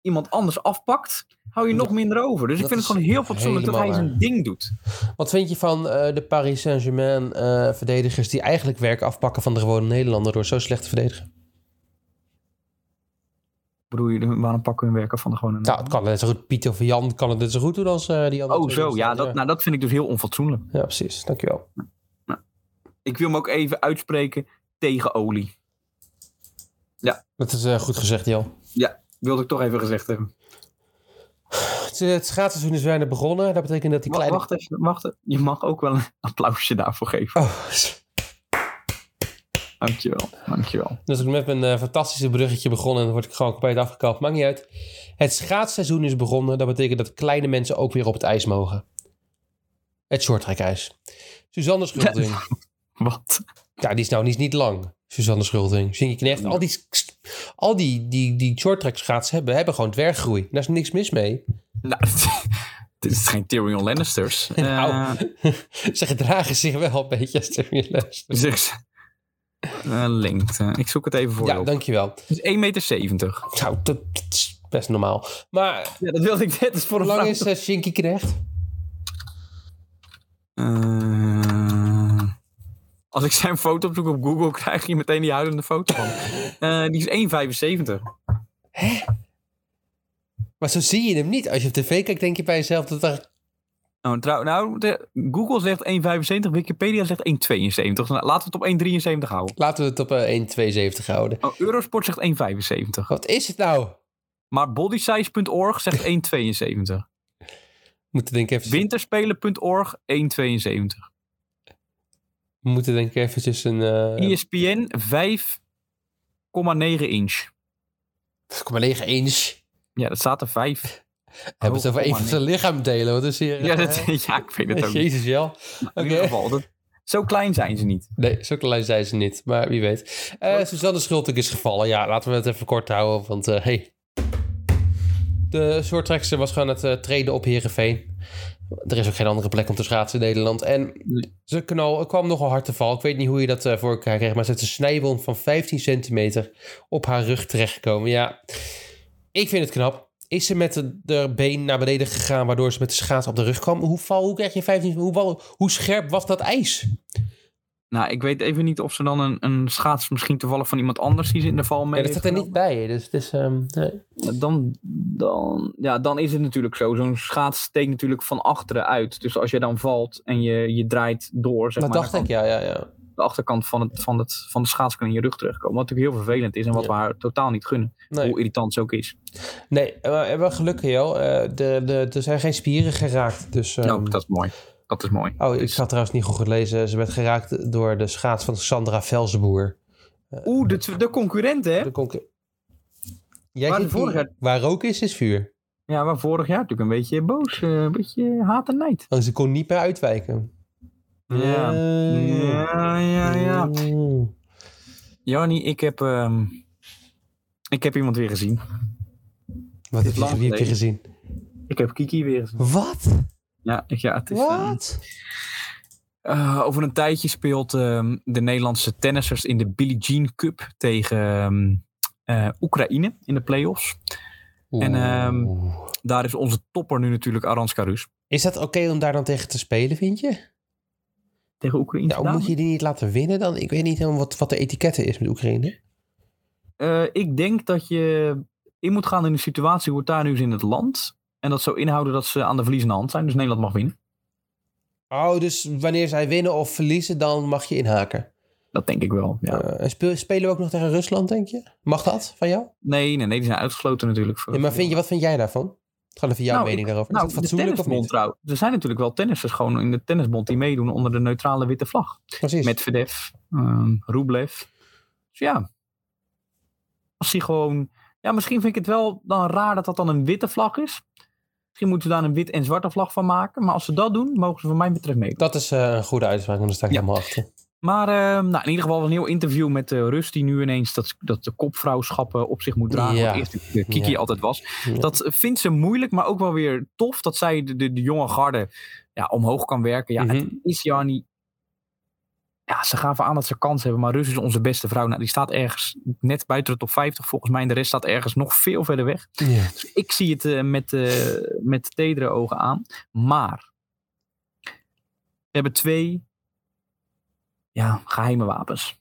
Speaker 3: iemand anders afpakt, hou je nog minder over. Dus
Speaker 1: Dat
Speaker 3: ik vind
Speaker 1: is
Speaker 3: het gewoon heel fatsoenlijk dat hij
Speaker 1: helemaal
Speaker 3: zijn
Speaker 1: waar.
Speaker 3: ding doet.
Speaker 1: Wat vind je van eh, de Paris Saint-Germain eh, verdedigers die eigenlijk werk afpakken van de gewone Nederlander door zo slecht te verdedigen?
Speaker 3: Mhm. Bedoel je, waarom pakken we hun werken van de gewone
Speaker 1: Nou, het kan net zo goed Pieter of Jan kan het net zo goed doen als eh, die andere.
Speaker 3: Oh,
Speaker 1: twee
Speaker 3: zo.
Speaker 1: die
Speaker 3: Ja,
Speaker 1: staan.
Speaker 3: dat, nou, dat vind ik dus heel onfatsoenlijk.
Speaker 1: ja, precies. Dankjewel.
Speaker 3: Ik wil me ook even uitspreken tegen olie.
Speaker 1: Dat is eh, goed gezegd, Jan.
Speaker 3: Wilde ik toch even gezegd hebben.
Speaker 1: Het, eh, het schaatsseizoen is bijna begonnen. Dat betekent dat die
Speaker 3: Wa-
Speaker 1: kleine...
Speaker 3: Wacht even, wacht even. Je mag ook wel een applausje daarvoor geven.
Speaker 1: Oh,
Speaker 3: Dankjewel, dankjewel.
Speaker 1: dus ik ben met mijn eh, fantastische bruggetje begonnen en dan word ik gewoon compleet afgekapt. Maakt niet uit. Het schaatsseizoen is begonnen. Dat betekent dat kleine mensen ook weer op het ijs mogen. Het shorttrackijs. Suzanne Schulding.
Speaker 3: Wat?
Speaker 1: Ja, die is nou niet, niet lang. Suzanne Schulding, Shinky Knecht. Al die, al die, die, die shorttrack schaatsen hebben, hebben gewoon dwerggroei. Daar is niks mis mee.
Speaker 3: Nou, dit is geen Tyrion Lannisters. Eh,
Speaker 1: Nou. Ze gedragen zich wel een beetje als er weer luistert.
Speaker 3: zeg ze- Eh, lengte. Ik zoek het even voor je
Speaker 1: Ja,
Speaker 3: op.
Speaker 1: dankjewel.
Speaker 3: Het is 1,70 meter.
Speaker 1: Nou, dat, dat is best normaal. Maar
Speaker 3: Ja, dat wilde ik net eens voor
Speaker 1: hoe
Speaker 3: een
Speaker 1: lang
Speaker 3: vrouw.
Speaker 1: is eh, Shinky Knecht?
Speaker 3: Eh, als ik zijn foto opzoek op Google, krijg je meteen die huilende foto van. Eh, die is 1,75.
Speaker 1: Maar zo zie je hem niet. Als je op tv kijkt, denk je bij jezelf dat er...
Speaker 3: Nou, trouw, nou de- Google zegt 1,75, Wikipedia zegt 1,72. Nou, laten we het op 1,73 houden.
Speaker 1: Laten we het op eh, 1,72 houden.
Speaker 3: Oh, Eurosport zegt 1,75.
Speaker 1: Wat is het nou?
Speaker 3: Maar bodysize.org zegt 1,72.
Speaker 1: Moeten denk ik even,
Speaker 3: Winterspelen.org 1,72.
Speaker 1: we moeten denk ik eventjes een...
Speaker 3: E
Speaker 1: eh
Speaker 3: ESPN 5,9 inch.
Speaker 1: 5,9 inch.
Speaker 3: Ja, dat staat er 5.
Speaker 1: Hebben ze het over een
Speaker 3: Oh, kom maar,
Speaker 1: van zijn lichaamdelen? Wat is hier...
Speaker 3: Ja,
Speaker 1: eh,
Speaker 3: dat, ja ik weet het ook niet.
Speaker 1: Jezus, Jel. Oké.
Speaker 3: In ieder geval, dat- zo klein zijn ze niet.
Speaker 1: Nee, zo klein zijn ze niet, maar wie weet. Eh Suzanne Schulting is gevallen. Ja, laten we het even kort houden, want eh hey. De shorttrekster was gewoon aan het eh, treden op Heerenveen. Er is ook geen andere plek om te schaatsen in Nederland. En ze knal, kwam nogal hard te val. Ik weet niet hoe je dat eh, voor elkaar kreeg, maar ze heeft een snijwond van 15 centimeter op haar rug terechtgekomen. Ja, ik vind het knap. Is ze met de, de been naar beneden gegaan, waardoor ze met de schaats op de rug kwam? Hoe, val, hoe krijg je 15? Hoe, bal- hoe scherp was dat ijs?
Speaker 3: Nou, ik weet even niet of ze dan een, een schaats misschien toevallig van iemand anders die ze in de val mee
Speaker 1: Ja, dat
Speaker 3: heeft
Speaker 1: staat er niet
Speaker 3: genomen.
Speaker 1: bij. Dus het is. ehm, nee.
Speaker 3: Dan, dan, ja, dan is het natuurlijk zo. Zo'n schaats steekt natuurlijk van achteren uit. Dus als je dan valt en je, je draait door, zeg
Speaker 1: dat
Speaker 3: maar,
Speaker 1: dacht
Speaker 3: dan
Speaker 1: ik,
Speaker 3: kan
Speaker 1: ja, ja, ja.
Speaker 3: de achterkant van, het, van, het, van de schaats kan in je rug terechtkomen. Wat natuurlijk heel vervelend is en wat
Speaker 1: Ja.
Speaker 3: we haar totaal niet gunnen.
Speaker 1: Nee,
Speaker 3: Hoe irritant ze ook is.
Speaker 1: nee maar wel geluk, joh. Eh, de, de, er zijn geen spieren geraakt. Dus, ehm,
Speaker 3: Nou, dat is mooi. Dat is mooi.
Speaker 1: Oh, ik had trouwens niet goed gelezen. Ze werd geraakt door de schaats van Sandra Velzenboer. Eh,
Speaker 3: Oeh, de, tw- de concurrenten, hè?
Speaker 1: De concu- Jij
Speaker 3: Waar
Speaker 1: zit
Speaker 3: vorig
Speaker 1: hier-
Speaker 3: jaar-
Speaker 1: waar rook is, is vuur.
Speaker 3: Ja, waar vorig jaar natuurlijk een beetje boos. eh, Een beetje haat en nijd.
Speaker 1: Want Oh, ze kon niet meer uitwijken.
Speaker 3: Ja.
Speaker 1: Nee.
Speaker 3: Ja, ja, ja. Jannie, ik heb ehm, Ik heb iemand weer gezien.
Speaker 1: Wat heb je,
Speaker 3: lang
Speaker 1: wie heb je
Speaker 3: geleden.
Speaker 1: gezien?
Speaker 3: Ik heb Kiki weer gezien.
Speaker 1: Wat?
Speaker 3: Ja, ik- ja het is... eh,
Speaker 1: Wat?
Speaker 3: eh, over een tijdje speelt ehm, de Nederlandse tennissers in de Billie Jean Cup tegen ehm, eh, Oekraïne in de play-offs. En, ehm,
Speaker 1: Oeh.
Speaker 3: Daar is onze topper nu natuurlijk Aranska Rus.
Speaker 1: Is dat oké om daar dan tegen te spelen, vind je?
Speaker 3: Tegen Oekraïne.
Speaker 1: Ja,
Speaker 3: gedaan.
Speaker 1: moet je die niet laten winnen dan? Ik weet niet helemaal wat, wat de etikette is met Oekraïne.
Speaker 3: Eh, ik denk dat je in moet gaan in de situatie hoe het daar nu is in het land. En dat zou inhouden dat ze aan de verliezende hand zijn. Dus Nederland mag winnen.
Speaker 1: Oh, dus wanneer zij winnen of verliezen, dan mag je inhaken.
Speaker 3: Dat denk ik wel. Ja.
Speaker 1: Eh, en speel- spelen we ook nog tegen Rusland, denk je? Mag dat van jou?
Speaker 3: Nee, nee, nee, die zijn uitgesloten natuurlijk. Voor
Speaker 1: Ja, maar vind je, wat vind jij daarvan? Het gaat even jouw
Speaker 3: Eh, Nou,
Speaker 1: mening daarover.
Speaker 3: nou,
Speaker 1: is
Speaker 3: de
Speaker 1: dat fatsoenlijk of
Speaker 3: tennisbond
Speaker 1: niet?
Speaker 3: trouw. Er zijn natuurlijk wel tennissers gewoon in de tennisbond die meedoen onder de neutrale witte vlag.
Speaker 1: Precies.
Speaker 3: Medvedev, ehm Rublev. Dus ja, als die gewoon... Ja, misschien vind ik het wel dan raar dat dat dan een witte vlag is. Misschien moeten we daar een wit en zwarte vlag van maken. Maar als ze dat doen, mogen ze van mij betreft meedoen.
Speaker 1: Dat is eh, een goede uitspraak, want daar sta ik
Speaker 3: Ja.
Speaker 1: helemaal achter.
Speaker 3: Maar ehm, nou, in ieder geval een heel interview met eh Rus, die nu ineens dat, dat de kopvrouwschap eh, op zich moet dragen.
Speaker 1: Ja.
Speaker 3: Wat eerst de Kiki
Speaker 1: Ja.
Speaker 3: altijd was.
Speaker 1: Ja.
Speaker 3: Dat vindt ze moeilijk, maar ook wel weer tof dat zij de, de, de jonge garde ja, omhoog kan werken. Ja,
Speaker 1: Mhm.
Speaker 3: het is Jani. Ja, ze gaven aan dat ze kans hebben, maar Rus is onze beste vrouw. Nou, die staat ergens net buiten de top 50 volgens mij. En de rest staat ergens nog veel verder weg.
Speaker 1: Ja.
Speaker 3: Dus ik zie het eh, met, eh, met tedere ogen aan. Maar we hebben twee ja, geheime wapens.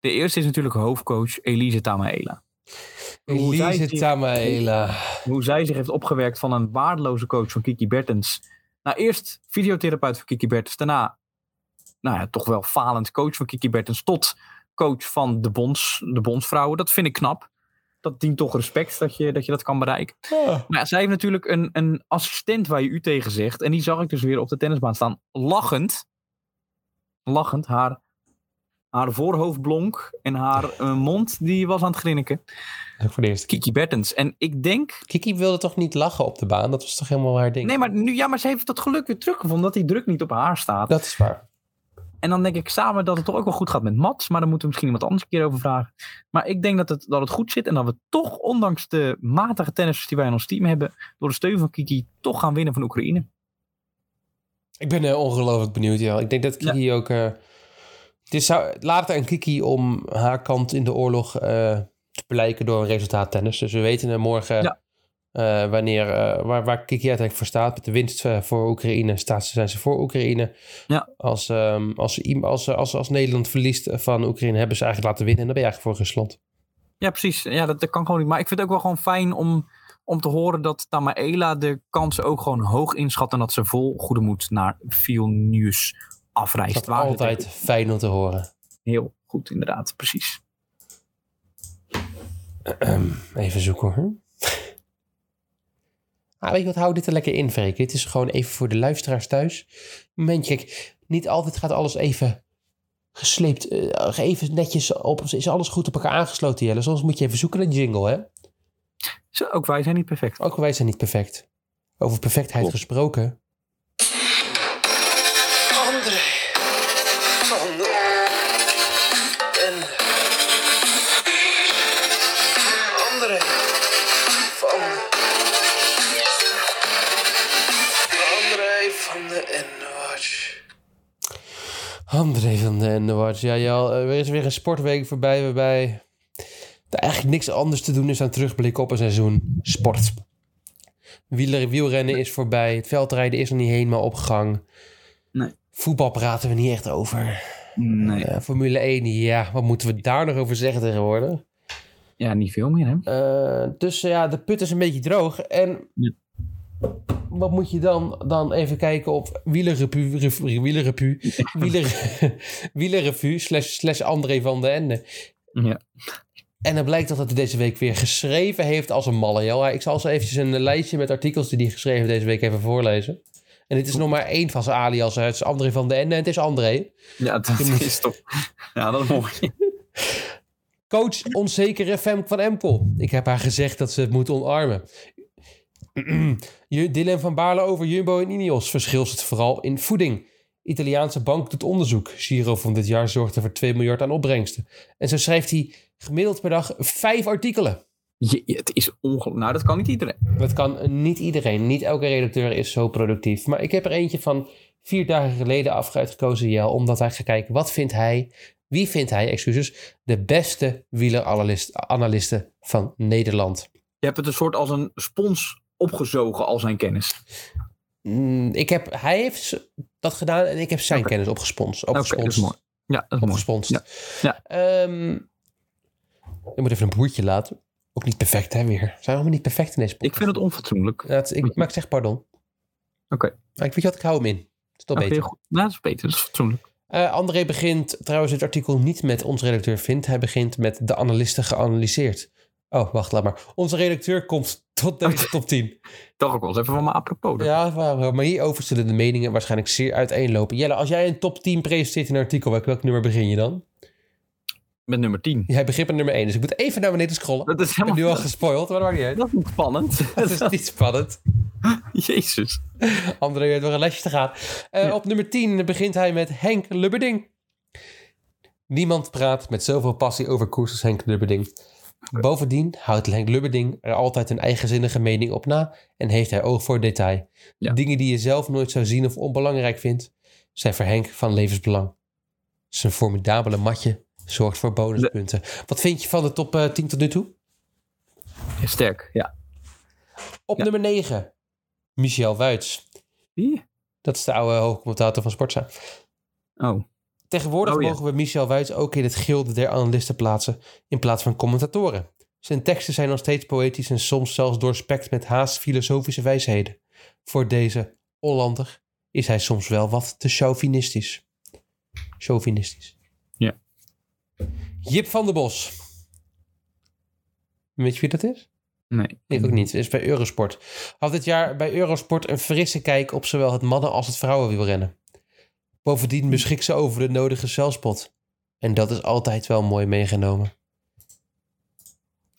Speaker 3: De eerste is natuurlijk hoofdcoach Elise Tamaela. Hoe zij
Speaker 1: Elise
Speaker 3: zich-
Speaker 1: Tamaela.
Speaker 3: Hoe zij zich heeft opgewerkt van een waardeloze coach van Kiki Bertens. Nou, eerst fysiotherapeut van Kiki Bertens. Daarna, nou ja, toch wel falend coach van Kiki Bertens. Tot coach van de, bonds, de bondsvrouwen. Dat vind ik knap. Dat dient toch respect dat je dat, je dat kan bereiken.
Speaker 1: Ah.
Speaker 3: Maar ja, zij heeft natuurlijk een, een assistent waar je u tegen zegt. En die zag ik dus weer op de tennisbaan staan. Lachend. Lachend. Haar, haar voorhoofd blonk. En haar eh, mond die was aan het grinniken.
Speaker 1: Ook voor de eerste keer.
Speaker 3: Kiki Bertens. En ik denk...
Speaker 1: Kiki wilde toch niet lachen op de baan? Dat was toch helemaal haar ding?
Speaker 3: Nee, maar, nu, ja, maar ze heeft dat geluk weer teruggevonden. Dat die druk niet op haar staat.
Speaker 1: Dat is waar.
Speaker 3: En dan denk ik samen dat het toch ook wel goed gaat met Mats. Maar daar moeten we misschien iemand anders een keer over vragen. Maar ik denk dat het, dat het goed zit. En dat we toch, ondanks de matige tennissers die wij in ons team hebben. Door de steun van Kiki toch gaan winnen van Oekraïne.
Speaker 1: Ik ben eh, ongelooflijk benieuwd, ja. Ik denk dat Kiki ook... eh, het is, zou, laat het aan Kiki om haar kant in de oorlog eh, te blijken door een resultaat tennis. Dus we weten eh, morgen
Speaker 3: Ja.
Speaker 1: eh, wanneer, eh, waar, waar Kiki uiteindelijk voor staat. Met de winst eh, voor Oekraïne staat, ze- zijn ze voor Oekraïne.
Speaker 3: Ja.
Speaker 1: Als, ehm, als, ze iem- als, ze- als, ze- als Nederland verliest van Oekraïne, hebben ze eigenlijk laten winnen. En dan ben je eigenlijk voor Rusland.
Speaker 3: Ja, precies. Ja, dat, dat kan gewoon niet. Maar ik vind het ook wel gewoon fijn om, om te horen dat Tamaela de kansen ook gewoon hoog inschat. En dat ze vol goede moed naar Vilnius afreist.
Speaker 1: Dat is
Speaker 3: Waar ze
Speaker 1: altijd fijn om te horen.
Speaker 3: tegen- Heel goed, inderdaad. Precies.
Speaker 1: Ehm, Even zoeken hoor. Ah, weet je wat, hou dit er lekker in, Freek. Dit is gewoon even voor de luisteraars thuis. Momentje, kijk, niet altijd gaat alles even gesleept, eh, even netjes op. Is alles goed op elkaar aangesloten, Jelle? Soms moet je even zoeken naar een jingle, hè?
Speaker 3: Zo, ook wij zijn niet perfect.
Speaker 1: Ook wij zijn niet perfect. Over perfectheid
Speaker 3: Klopt.
Speaker 1: gesproken.
Speaker 4: André van den André van André van de N-Watch.
Speaker 1: André van den Watch. Ja, Jel, eh, er is weer een sportweek voorbij waarbij er eigenlijk niks anders te doen is dan terugblikken op een seizoen sport. Wieler, wielrennen is voorbij. Het veldrijden is nog niet helemaal op gang.
Speaker 3: Nee.
Speaker 1: Voetbal praten we niet echt over.
Speaker 3: Nee.
Speaker 1: Eh, Formule 1, ja, wat moeten we daar nog over zeggen tegenwoordig?
Speaker 3: Ja, niet veel meer, hè?
Speaker 1: Eh, dus eh, ja, de put is een beetje droog. En
Speaker 3: Ja.
Speaker 1: wat moet je dan, dan even kijken op wielerrepu, revu- wielerrepu, wieler, wielerrevu slash, slash André van den Ende.
Speaker 3: Ja.
Speaker 1: En dan blijkt dat hij deze week weer geschreven heeft als een malle. joh. Ik zal zo eventjes een lijstje met artikels die hij geschreven heeft deze week even voorlezen. En dit is nog maar één van zijn aliasen. Het is André van den Ende en het is André.
Speaker 3: Ja, dat
Speaker 1: Je moet-
Speaker 3: is toch. Ja, dat is mooi.
Speaker 1: Coach onzekere Femke van Emkel. Ik heb haar gezegd dat ze het moet onarmen. Ju- Dylan van Baarle over Jumbo en Ineos. Verschil zit vooral in voeding. Italiaanse bank doet onderzoek. Giro van dit jaar zorgde voor 2 miljard aan opbrengsten. En zo schrijft hij gemiddeld per dag vijf artikelen.
Speaker 3: Je- je- het is ongelooflijk. Nou, dat kan niet iedereen.
Speaker 1: Dat kan niet iedereen. Niet elke redacteur is zo productief. Maar ik heb er eentje van vier dagen geleden af- uitgekozen, Jel. Omdat hij gaat kijken, wat vindt hij, wie vindt hij, excuses, de beste wieleranalisten van Nederland.
Speaker 3: Je hebt het een soort als een spons opgezogen, al zijn kennis.
Speaker 1: Mm, Ik heb, hij heeft dat gedaan en ik heb zijn
Speaker 3: Oké.
Speaker 1: kennis opgesponst.
Speaker 3: Oké, dat is
Speaker 1: opgesponst.
Speaker 3: mooi. Ja, dat is mooi.
Speaker 1: opgesponst.
Speaker 3: Ja. Ja.
Speaker 1: Ehm, ik moet even een boertje laten. Ook niet perfect, hè, weer. Zijn we helemaal niet perfect in deze
Speaker 3: Ik
Speaker 1: podcast?
Speaker 3: vind het onfatsoenlijk.
Speaker 1: Ja, het- ik, maar ik zeg pardon.
Speaker 3: Oké.
Speaker 1: Maar ik weet je wat, ik hou hem in. Het is toch
Speaker 3: Oké,
Speaker 1: beter.
Speaker 3: goed. Ja, dat is beter. Dat is fatsoenlijk.
Speaker 1: Eh, André begint trouwens het artikel niet met onze redacteur vindt. Hij begint met de analisten geanalyseerd. Oh, wacht, laat maar. Onze redacteur komt tot deze top 10.
Speaker 3: Toch ook wel eens even van me apropos.
Speaker 1: Ja, maar, maar hierover zullen de meningen waarschijnlijk zeer uiteenlopen. Jelle, als jij een top 10 presenteert in een artikel, welk, welk nummer begin je dan?
Speaker 3: Met nummer 10.
Speaker 1: Jij begint met nummer 1, dus ik moet even naar beneden scrollen.
Speaker 3: Dat is
Speaker 1: Ik ben nu al
Speaker 3: helemaal...
Speaker 1: gespoild, maar dat maakt niet uit.
Speaker 3: Dat is niet spannend.
Speaker 1: Dat is niet spannend.
Speaker 3: Jezus.
Speaker 1: André weet wel een lesje te gaan. Eh,
Speaker 3: Ja.
Speaker 1: Op nummer 10 begint hij met Henk Lubberding. Niemand praat met zoveel passie over koers als Henk Lubberding. Bovendien houdt Henk Lubberding er altijd een eigenzinnige mening op na en heeft hij oog voor detail.
Speaker 3: Ja.
Speaker 1: Dingen die je zelf nooit zou zien of onbelangrijk vindt, zijn voor Henk van levensbelang. Zijn formidabele matje zorgt voor bonuspunten. Wat vind je van de top eh, 10 tot nu toe?
Speaker 3: Ja, Sterk, ja.
Speaker 1: Op
Speaker 3: Ja.
Speaker 1: nummer 9, Michel Wuits.
Speaker 3: Wie?
Speaker 1: Dat is de oude hoofdcommentator van Sportza.
Speaker 3: Oh,
Speaker 1: Tegenwoordig
Speaker 3: Oh ja.
Speaker 1: mogen we Michel Wuits ook in het gilde der analisten plaatsen in plaats van commentatoren. Zijn teksten zijn nog steeds poëtisch en soms zelfs doorspekt met haast filosofische wijsheden. Voor deze Hollander is hij soms wel wat te chauvinistisch. Chauvinistisch.
Speaker 3: Ja.
Speaker 1: Jip van der Bos. Weet je wie dat is?
Speaker 3: nee.
Speaker 1: Ik ook niet. Is bij Eurosport. Had dit jaar bij Eurosport een frisse kijk op zowel het mannen- als het vrouwenwielrennen. Bovendien beschikt ze over de nodige zelfspot. En dat is altijd wel mooi meegenomen.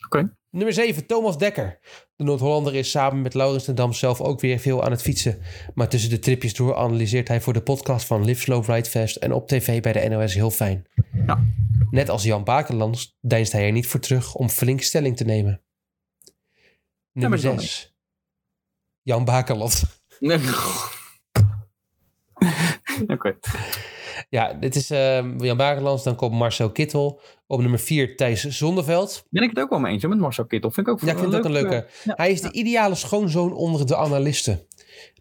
Speaker 3: Oké.
Speaker 1: Nummer 7, Thomas Dekker. De Noord-Hollander is samen met Laurens ten Dam zelf ook weer veel aan het fietsen. Maar tussen de tripjes door analyseert hij voor de podcast van Live Slow Ride Fast en op tv bij de NOS heel fijn.
Speaker 3: Ja.
Speaker 1: Net als Jan Bakelands deinst hij er niet voor terug om flink stelling te nemen. Nummer
Speaker 3: maar dat is
Speaker 1: 6. Jan Bakeland.
Speaker 3: Nee. Oké.
Speaker 1: Ja, dit is ehm, Jan Bakelands. Dan komt Marcel Kittel. Op nummer 4 Thijs Zonneveld.
Speaker 3: Ben ik het ook wel mee eens hè, met Marcel Kittel. Vind ik ook
Speaker 1: Ja, ik vind het ook een leuke.
Speaker 3: ja,
Speaker 1: Hij is de ideale schoonzoon onder de analisten.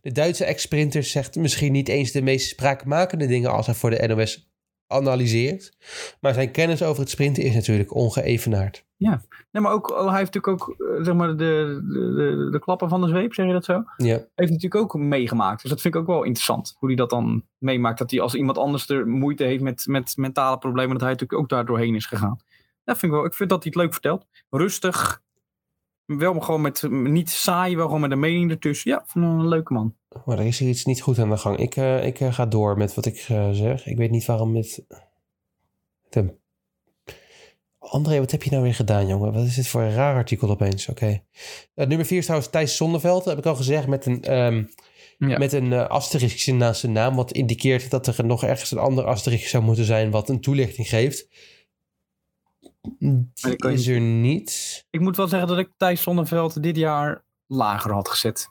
Speaker 1: De Duitse ex-sprinter zegt misschien niet eens de meest spraakmakende dingen als hij voor de NOS analyseert. Maar zijn kennis over het sprinten is natuurlijk ongeëvenaard.
Speaker 3: Nee, maar ook, oh, hij heeft natuurlijk ook eh, zeg maar de, de, de, de klappen van de zweep, zeg je dat zo?
Speaker 1: Ja.
Speaker 3: Heeft natuurlijk ook meegemaakt. Dus dat vind ik ook wel interessant. Hoe hij dat dan meemaakt. Dat hij als iemand anders er moeite heeft met, met mentale problemen, dat hij natuurlijk ook daar doorheen is gegaan. Dat vind ik wel. Ik vind dat hij het leuk vertelt. Rustig. Wel gewoon met, niet saai, wel gewoon met een mening ertussen. Ja, van een leuke man.
Speaker 1: Maar er is hier iets niet goed aan de gang. Ik, eh, ik eh, ga door met wat ik eh, zeg. Ik weet niet waarom het... Tim. André, wat heb je nou weer gedaan, jongen? Wat is dit voor een raar artikel opeens? Oké. Eh, nummer 4 is trouwens Thijs Zonneveld. Dat heb ik al gezegd met een... ehm,
Speaker 3: Ja.
Speaker 1: Met een eh, asteriskje naast zijn naam, wat indiceert dat er nog ergens een ander asteriskje zou moeten zijn wat een toelichting geeft. Die
Speaker 3: dat kan je
Speaker 1: is er niet.
Speaker 3: Ik moet wel zeggen dat ik Thijs Zonneveld dit jaar lager had gezet.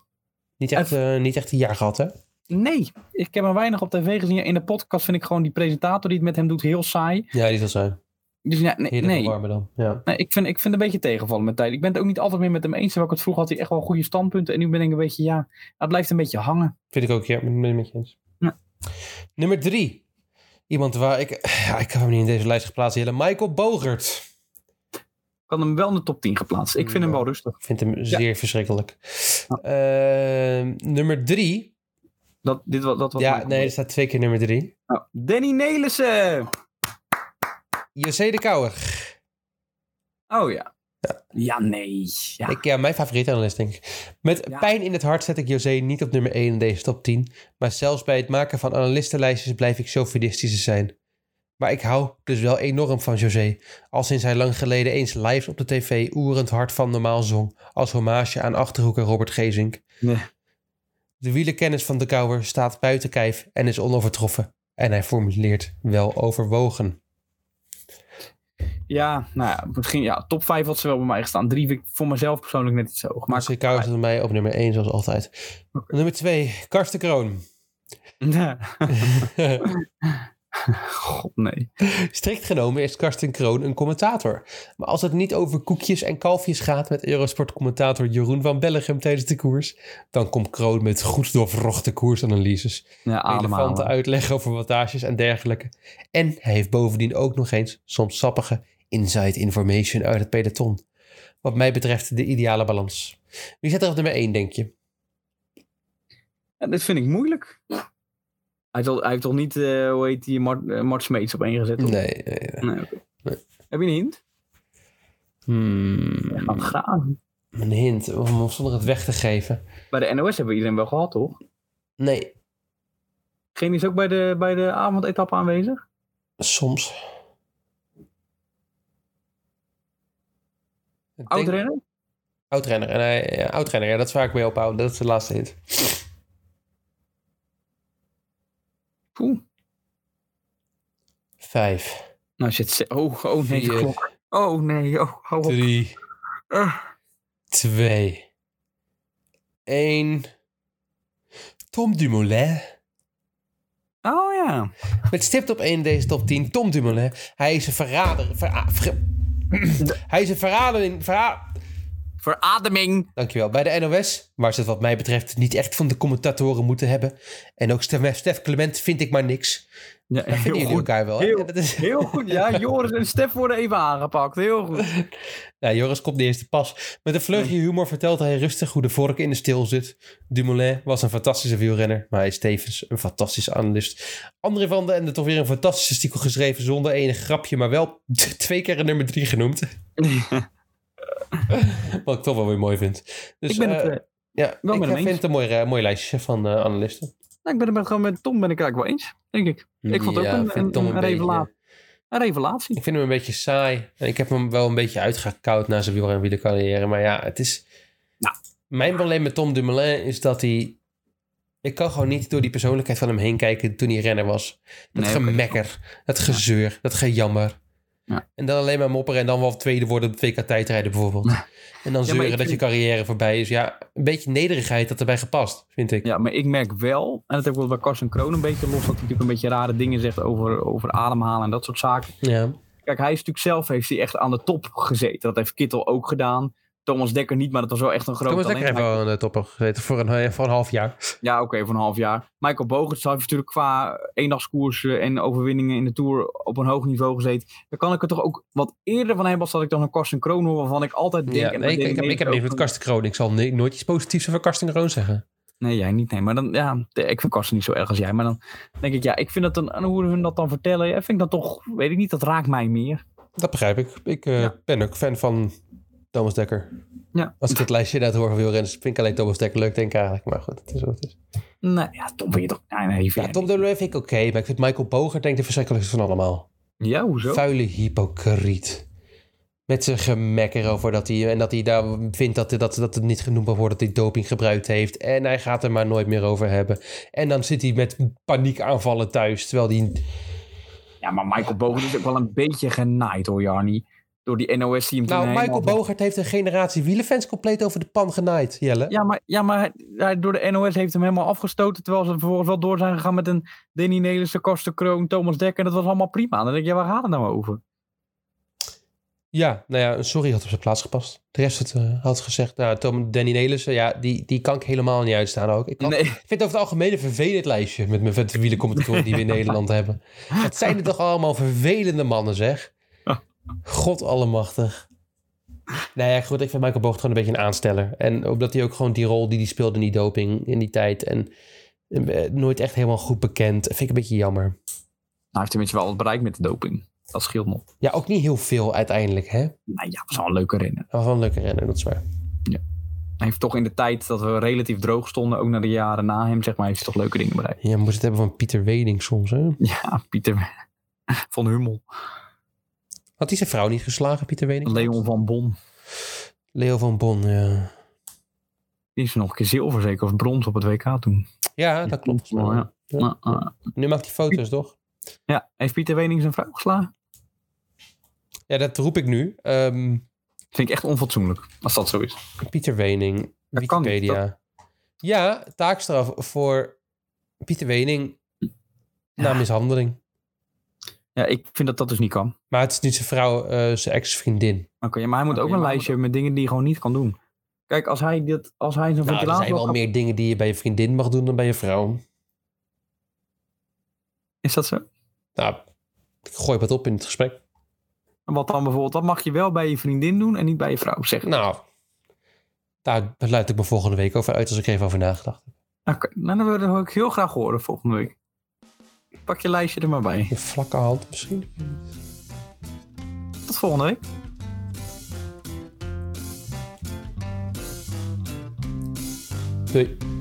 Speaker 1: Niet echt, eh, niet echt een jaar gehad, hè?
Speaker 3: Nee, ik heb hem weinig op tv gezien. In de podcast vind ik gewoon die presentator die het met hem doet heel saai.
Speaker 1: Ja, die zal zijn.
Speaker 3: Dus ja, nee,
Speaker 1: Heerlijk
Speaker 3: nee.
Speaker 1: warme dan. Ja.
Speaker 3: Nee, ik, vind, ik vind het een beetje tegenvallen met tijd. Ik ben het ook niet altijd meer met hem eens. Terwijl ik het vroeger had hij echt wel goede standpunten. En nu ben ik een beetje, ja, het blijft een beetje hangen.
Speaker 1: Vind ik ook, ja. Ben ik met je eens.
Speaker 3: Ja.
Speaker 1: Nummer drie. Iemand waar ik... Ja, ik heb hem niet in deze lijst geplaatst. Hele Michael Bogert.
Speaker 3: Ik had hem wel in de top 10 geplaatst. Ik vind hem
Speaker 1: Ja.
Speaker 3: wel rustig.
Speaker 1: Ik vind hem zeer verschrikkelijk. Eh, nummer drie.
Speaker 3: Dat, dit, wa- dat was
Speaker 1: Ja,
Speaker 3: mijn
Speaker 1: nee, er staat twee keer nummer drie.
Speaker 3: comment. Nou, Danny Nelissen!
Speaker 1: José de Kouwer.
Speaker 3: Oh ja. Ja, nee. Ja.
Speaker 1: Ik, ja, mijn favoriete analist, denk ik. Met
Speaker 3: Ja.
Speaker 1: pijn in het hart zet ik José niet op nummer 1 in deze top 10. Maar zelfs bij het maken van analistenlijstjes blijf ik chauvinistisch zijn. Maar ik hou dus wel enorm van José. Al sinds hij lang geleden eens live op de tv oerend hart van normaal zong. Als hommage aan Achterhoek en Robert Gezink.
Speaker 3: Nee.
Speaker 1: De wielenkennis van de Kouwer staat buiten kijf en is onovertroffen. En hij formuleert wel overwogen.
Speaker 3: Ja, nou ja, misschien ja, top 5 had ze wel bij mij gestaan. Drie vind ik voor mezelf persoonlijk net iets hoog. Maar
Speaker 1: Maar Kouwer staat bij mij op nummer 1 zoals altijd. Nummer 2, Karsten Kroon.
Speaker 3: God, nee.
Speaker 1: Strikt genomen is Karsten Kroon een commentator. Maar als het niet over koekjes en kalfjes gaat met Eurosport-commentator Jeroen van Bellegem tijdens de koers, dan komt Kroon met goed doorvrochte koersanalyses,
Speaker 3: Ja,
Speaker 1: relevante
Speaker 3: ademhalen.
Speaker 1: uitleg over wattages en dergelijke. En hij heeft bovendien ook nog eens soms sappige inside information uit het peloton. Wat mij betreft de ideale balans. Wie zet er op nummer 1, denk je?
Speaker 3: Ja, dit vind ik moeilijk. Hij heeft al- hij heeft toch niet, eh, hoe heet die, Mart, eh, Mart Smeets op één gezet? of-
Speaker 1: Nee. eh, nee, nee.
Speaker 3: Nee, oké.
Speaker 1: Nee.
Speaker 3: Heb je een hint?
Speaker 1: Hmm,
Speaker 3: Gaan we gaan.
Speaker 1: een hint, om zonder het weg te geven.
Speaker 3: Bij de NOS hebben we iedereen wel gehad, toch?
Speaker 1: Nee,
Speaker 3: Geen is ook bij de, bij de avondetappe aanwezig?
Speaker 1: soms. Ik denk-
Speaker 3: Oudrenner?
Speaker 1: Oudrenner. En hij, ja, oudrenner, ja, dat is waar ik mee ophoud. Dat is de laatste hint.
Speaker 3: Oeh.
Speaker 1: Vijf,
Speaker 3: Nou shit, ze- oh, oh nee, de
Speaker 1: Vier.
Speaker 3: klok. Oh nee, oh, hou op.
Speaker 1: drie,
Speaker 3: Ah,
Speaker 1: twee, één. Tom Dumoulin.
Speaker 3: Oh ja.
Speaker 1: Met stipt op één deze top 10. Tom Dumoulin. Hij is een verrader. verra- ver- hij is een verrader in... verra-
Speaker 3: Verademing.
Speaker 1: Dankjewel. Bij de NOS, waar ze het wat mij betreft niet echt van de commentatoren moeten hebben. En ook Stef, Stef Clement vind ik maar niks.
Speaker 3: Ja,
Speaker 1: Dat vinden
Speaker 3: heel
Speaker 1: jullie
Speaker 3: goed.
Speaker 1: elkaar wel. hè?
Speaker 3: Heel-
Speaker 1: Ja, dat is,
Speaker 3: Heel goed, ja. Joris en Stef worden even aangepakt. Heel goed.
Speaker 1: ja, Nou, Joris komt de eerste pas. Met een vleugje humor vertelt hij rustig hoe de vork in de steel zit. Dumoulin was een fantastische wielrenner, maar hij is tevens een fantastische analist. André van den Ende toch weer een fantastisch artikel geschreven zonder enig grapje, maar wel twee keer een nummer drie genoemd. Wat ik toch wel weer mooi vind. Dus,
Speaker 3: ik ben het,
Speaker 1: eh,
Speaker 3: eh,
Speaker 1: ja,
Speaker 3: wel
Speaker 1: ik
Speaker 3: met hem
Speaker 1: vind
Speaker 3: eens.
Speaker 1: het een mooi, eh, mooi lijstje van eh, analisten.
Speaker 3: nou, ik ben het met- gewoon met Tom ben ik eigenlijk wel eens, denk ik. Ik vond het ook
Speaker 1: Ja,
Speaker 3: een-
Speaker 1: ik vind
Speaker 3: een-
Speaker 1: Tom
Speaker 3: een
Speaker 1: beetje-
Speaker 3: revelatie. Een revelatie.
Speaker 1: Ik vind hem een beetje saai. En ik heb hem wel een beetje uitgekoud na zijn wielrenwielen carrière. Maar ja, het is...
Speaker 3: Nou.
Speaker 1: Mijn probleem met Tom Dumoulin is dat hij... Ik kan gewoon niet door die persoonlijkheid van hem heen kijken toen hij renner was. Dat
Speaker 3: Nee, oké.
Speaker 1: gemekker, dat gezeur, dat gejammer.
Speaker 3: Ja.
Speaker 1: En dan alleen maar mopperen en dan wel tweede worden op twee k tijdrijden bijvoorbeeld. En dan
Speaker 3: Ja, maar
Speaker 1: zeuren
Speaker 3: ik
Speaker 1: dat je
Speaker 3: vind-
Speaker 1: carrière voorbij is. Ja, een beetje nederigheid dat erbij gepast, vind ik.
Speaker 3: Ja, maar ik merk wel, en dat heb ik wel bij Carsten Kroon een beetje los, dat hij natuurlijk een beetje rare dingen zegt over, over ademhalen en dat soort zaken.
Speaker 1: Ja.
Speaker 3: Kijk, hij is natuurlijk zelf heeft hij echt aan de top gezeten. Dat heeft Kittel ook gedaan. Thomas Dekker niet, maar dat was wel echt een groot
Speaker 1: Thomas Dekker
Speaker 3: talent.
Speaker 1: heeft wel aan de top gezeten voor een, eh, voor een half jaar.
Speaker 3: Ja, oké, voor een half jaar. Michael Bogerts heeft natuurlijk qua eendagskoersen en overwinningen in de Tour op een hoog niveau gezeten. Dan kan ik er toch ook wat eerder van hebben als dat ik dan een Carsten Kroon hoor, waarvan ik altijd denk...
Speaker 1: Ja,
Speaker 3: en
Speaker 1: nee, ik,
Speaker 3: dat
Speaker 1: ik, heb,
Speaker 3: deed
Speaker 1: ik heb niks met
Speaker 3: ook-
Speaker 1: Karsten Kroon. Ik zal ni- nooit iets positiefs over Karsten Kroon zeggen.
Speaker 3: Nee, jij niet. Nee, maar dan, ja, de- ik vind Karsten niet zo erg als jij. Maar dan denk ik, ja, ik vind dat dan, en hoe hun dat dan vertellen, ja, vind ik dat toch, weet ik niet, dat raakt mij meer.
Speaker 1: Dat begrijp ik. Ik eh,
Speaker 3: Ja.
Speaker 1: ben ook fan van Thomas Dekker.
Speaker 3: Ja.
Speaker 1: Als ik dit lijstje inderdaad hoor van wielrenners, vind ik alleen Thomas Dekker leuk, denk ik eigenlijk. Maar goed, het is wat het is.
Speaker 3: Nee, ja, Tom vind je toch, nee, nee, vind
Speaker 1: Ja,
Speaker 3: jij
Speaker 1: Tom Dumoulin vind ik oké, maar ik vind Michael Boger denk ik de verschrikkelijkste van allemaal.
Speaker 3: niet. Ja, hoezo?
Speaker 1: Vuile hypocriet. Met zijn gemekker over dat hij... En dat hij daar vindt dat, dat, dat het niet genoemd mag worden dat hij doping gebruikt heeft. En hij gaat er maar nooit meer over hebben. En dan zit hij met paniekaanvallen thuis, terwijl hij...
Speaker 3: Ja, maar Michael Bogerts is ook wel een beetje genaaid hoor, Jarnie. Door die NOS die hem toen
Speaker 1: Nou,
Speaker 3: helemaal-
Speaker 1: Michael Bogert heeft een generatie wielenfans compleet over de pan genaaid, Jelle.
Speaker 3: Ja, maar, ja, maar hij- hij- door de NOS heeft hem helemaal afgestoten. Terwijl ze vervolgens wel door zijn gegaan met een Danny Nelissen, Karsten Kroon, Thomas Dekker. Dat was allemaal prima. Dan denk je, waar gaat het nou over?
Speaker 1: Ja, nou ja, een sorry had op zijn plaats gepast. De rest had, eh, had gezegd, nou, Tom, Danny Nelissen, ja, die, die kan ik helemaal niet uitstaan ook. Ik, kan-
Speaker 3: Nee.
Speaker 1: ik vind het over het algemeen een vervelend lijstje met mijn vette wielencommentatoren die we in Nederland hebben. Wat zijn er toch allemaal vervelende mannen, zeg. God allemachtig. Nou ja, goed, ik vind Michael Bogert gewoon een beetje een aansteller. En omdat hij ook gewoon die rol die hij speelde in die doping in die tijd en eh, nooit echt helemaal goed bekend, vind ik een beetje jammer.
Speaker 3: Hij heeft tenminste wel wat bereikt met de doping. Dat scheelt nog.
Speaker 1: Ja, ook niet heel veel uiteindelijk, hè?
Speaker 3: Nou ja, dat is wel een leuke renner.
Speaker 1: Hij was wel een leuke renner, dat is waar.
Speaker 3: Hij heeft toch in de tijd dat we relatief droog stonden, ook naar de jaren na hem, zeg maar, heeft hij toch leuke dingen bereikt.
Speaker 1: Ja, maar moest het hebben van Pieter Weding soms, hè?
Speaker 3: Ja, Pieter van Hummel,
Speaker 1: Had hij zijn vrouw niet geslagen, Pieter Weding?
Speaker 3: Leon van Bon.
Speaker 1: Leo van Bon, ja.
Speaker 3: Die is nog een keer zilver zeker of brons op het WK toen.
Speaker 1: Ja, dat klopt.
Speaker 3: Wel, ja.
Speaker 1: Ja.
Speaker 3: Nou, eh,
Speaker 1: Nu maakt hij foto's, toch?
Speaker 3: ja. Heeft Pieter Wening zijn vrouw geslagen?
Speaker 1: Ja, dat roep ik nu. Ehm,
Speaker 3: Vind ik echt onfatsoenlijk, als dat zo is.
Speaker 1: Pieter Wening,
Speaker 3: Dat kan niet,
Speaker 1: Wikipedia. ja, taakstraf voor Pieter Wening na
Speaker 3: Ja.
Speaker 1: mishandeling.
Speaker 3: Ja, ik vind dat dat dus niet kan. Oké,
Speaker 1: Maar het is niet zijn vrouw, eh, zijn ex-vriendin.
Speaker 3: maar hij moet
Speaker 2: Oké,
Speaker 3: ook
Speaker 2: maar
Speaker 3: een
Speaker 2: hij
Speaker 3: lijstje hebben met dingen die hij gewoon niet kan doen. Kijk, als hij, dit, als hij zijn
Speaker 1: Nou, er
Speaker 3: ventilator...
Speaker 1: zijn wel meer dingen die je bij je vriendin mag doen dan bij je vrouw.
Speaker 3: Is dat zo?
Speaker 1: Nou, ik gooi wat op in het gesprek.
Speaker 3: Wat dan bijvoorbeeld? Dat mag je wel bij je vriendin doen en niet bij je vrouw zeggen.
Speaker 1: Nou, daar luid ik me volgende week over uit als ik er even over nagedacht heb.
Speaker 3: Oké, nou, dan wil ik heel graag horen volgende week. Pak je lijstje er maar bij.
Speaker 1: Een vlakke hand misschien.
Speaker 3: Tot volgende week.
Speaker 1: Doei.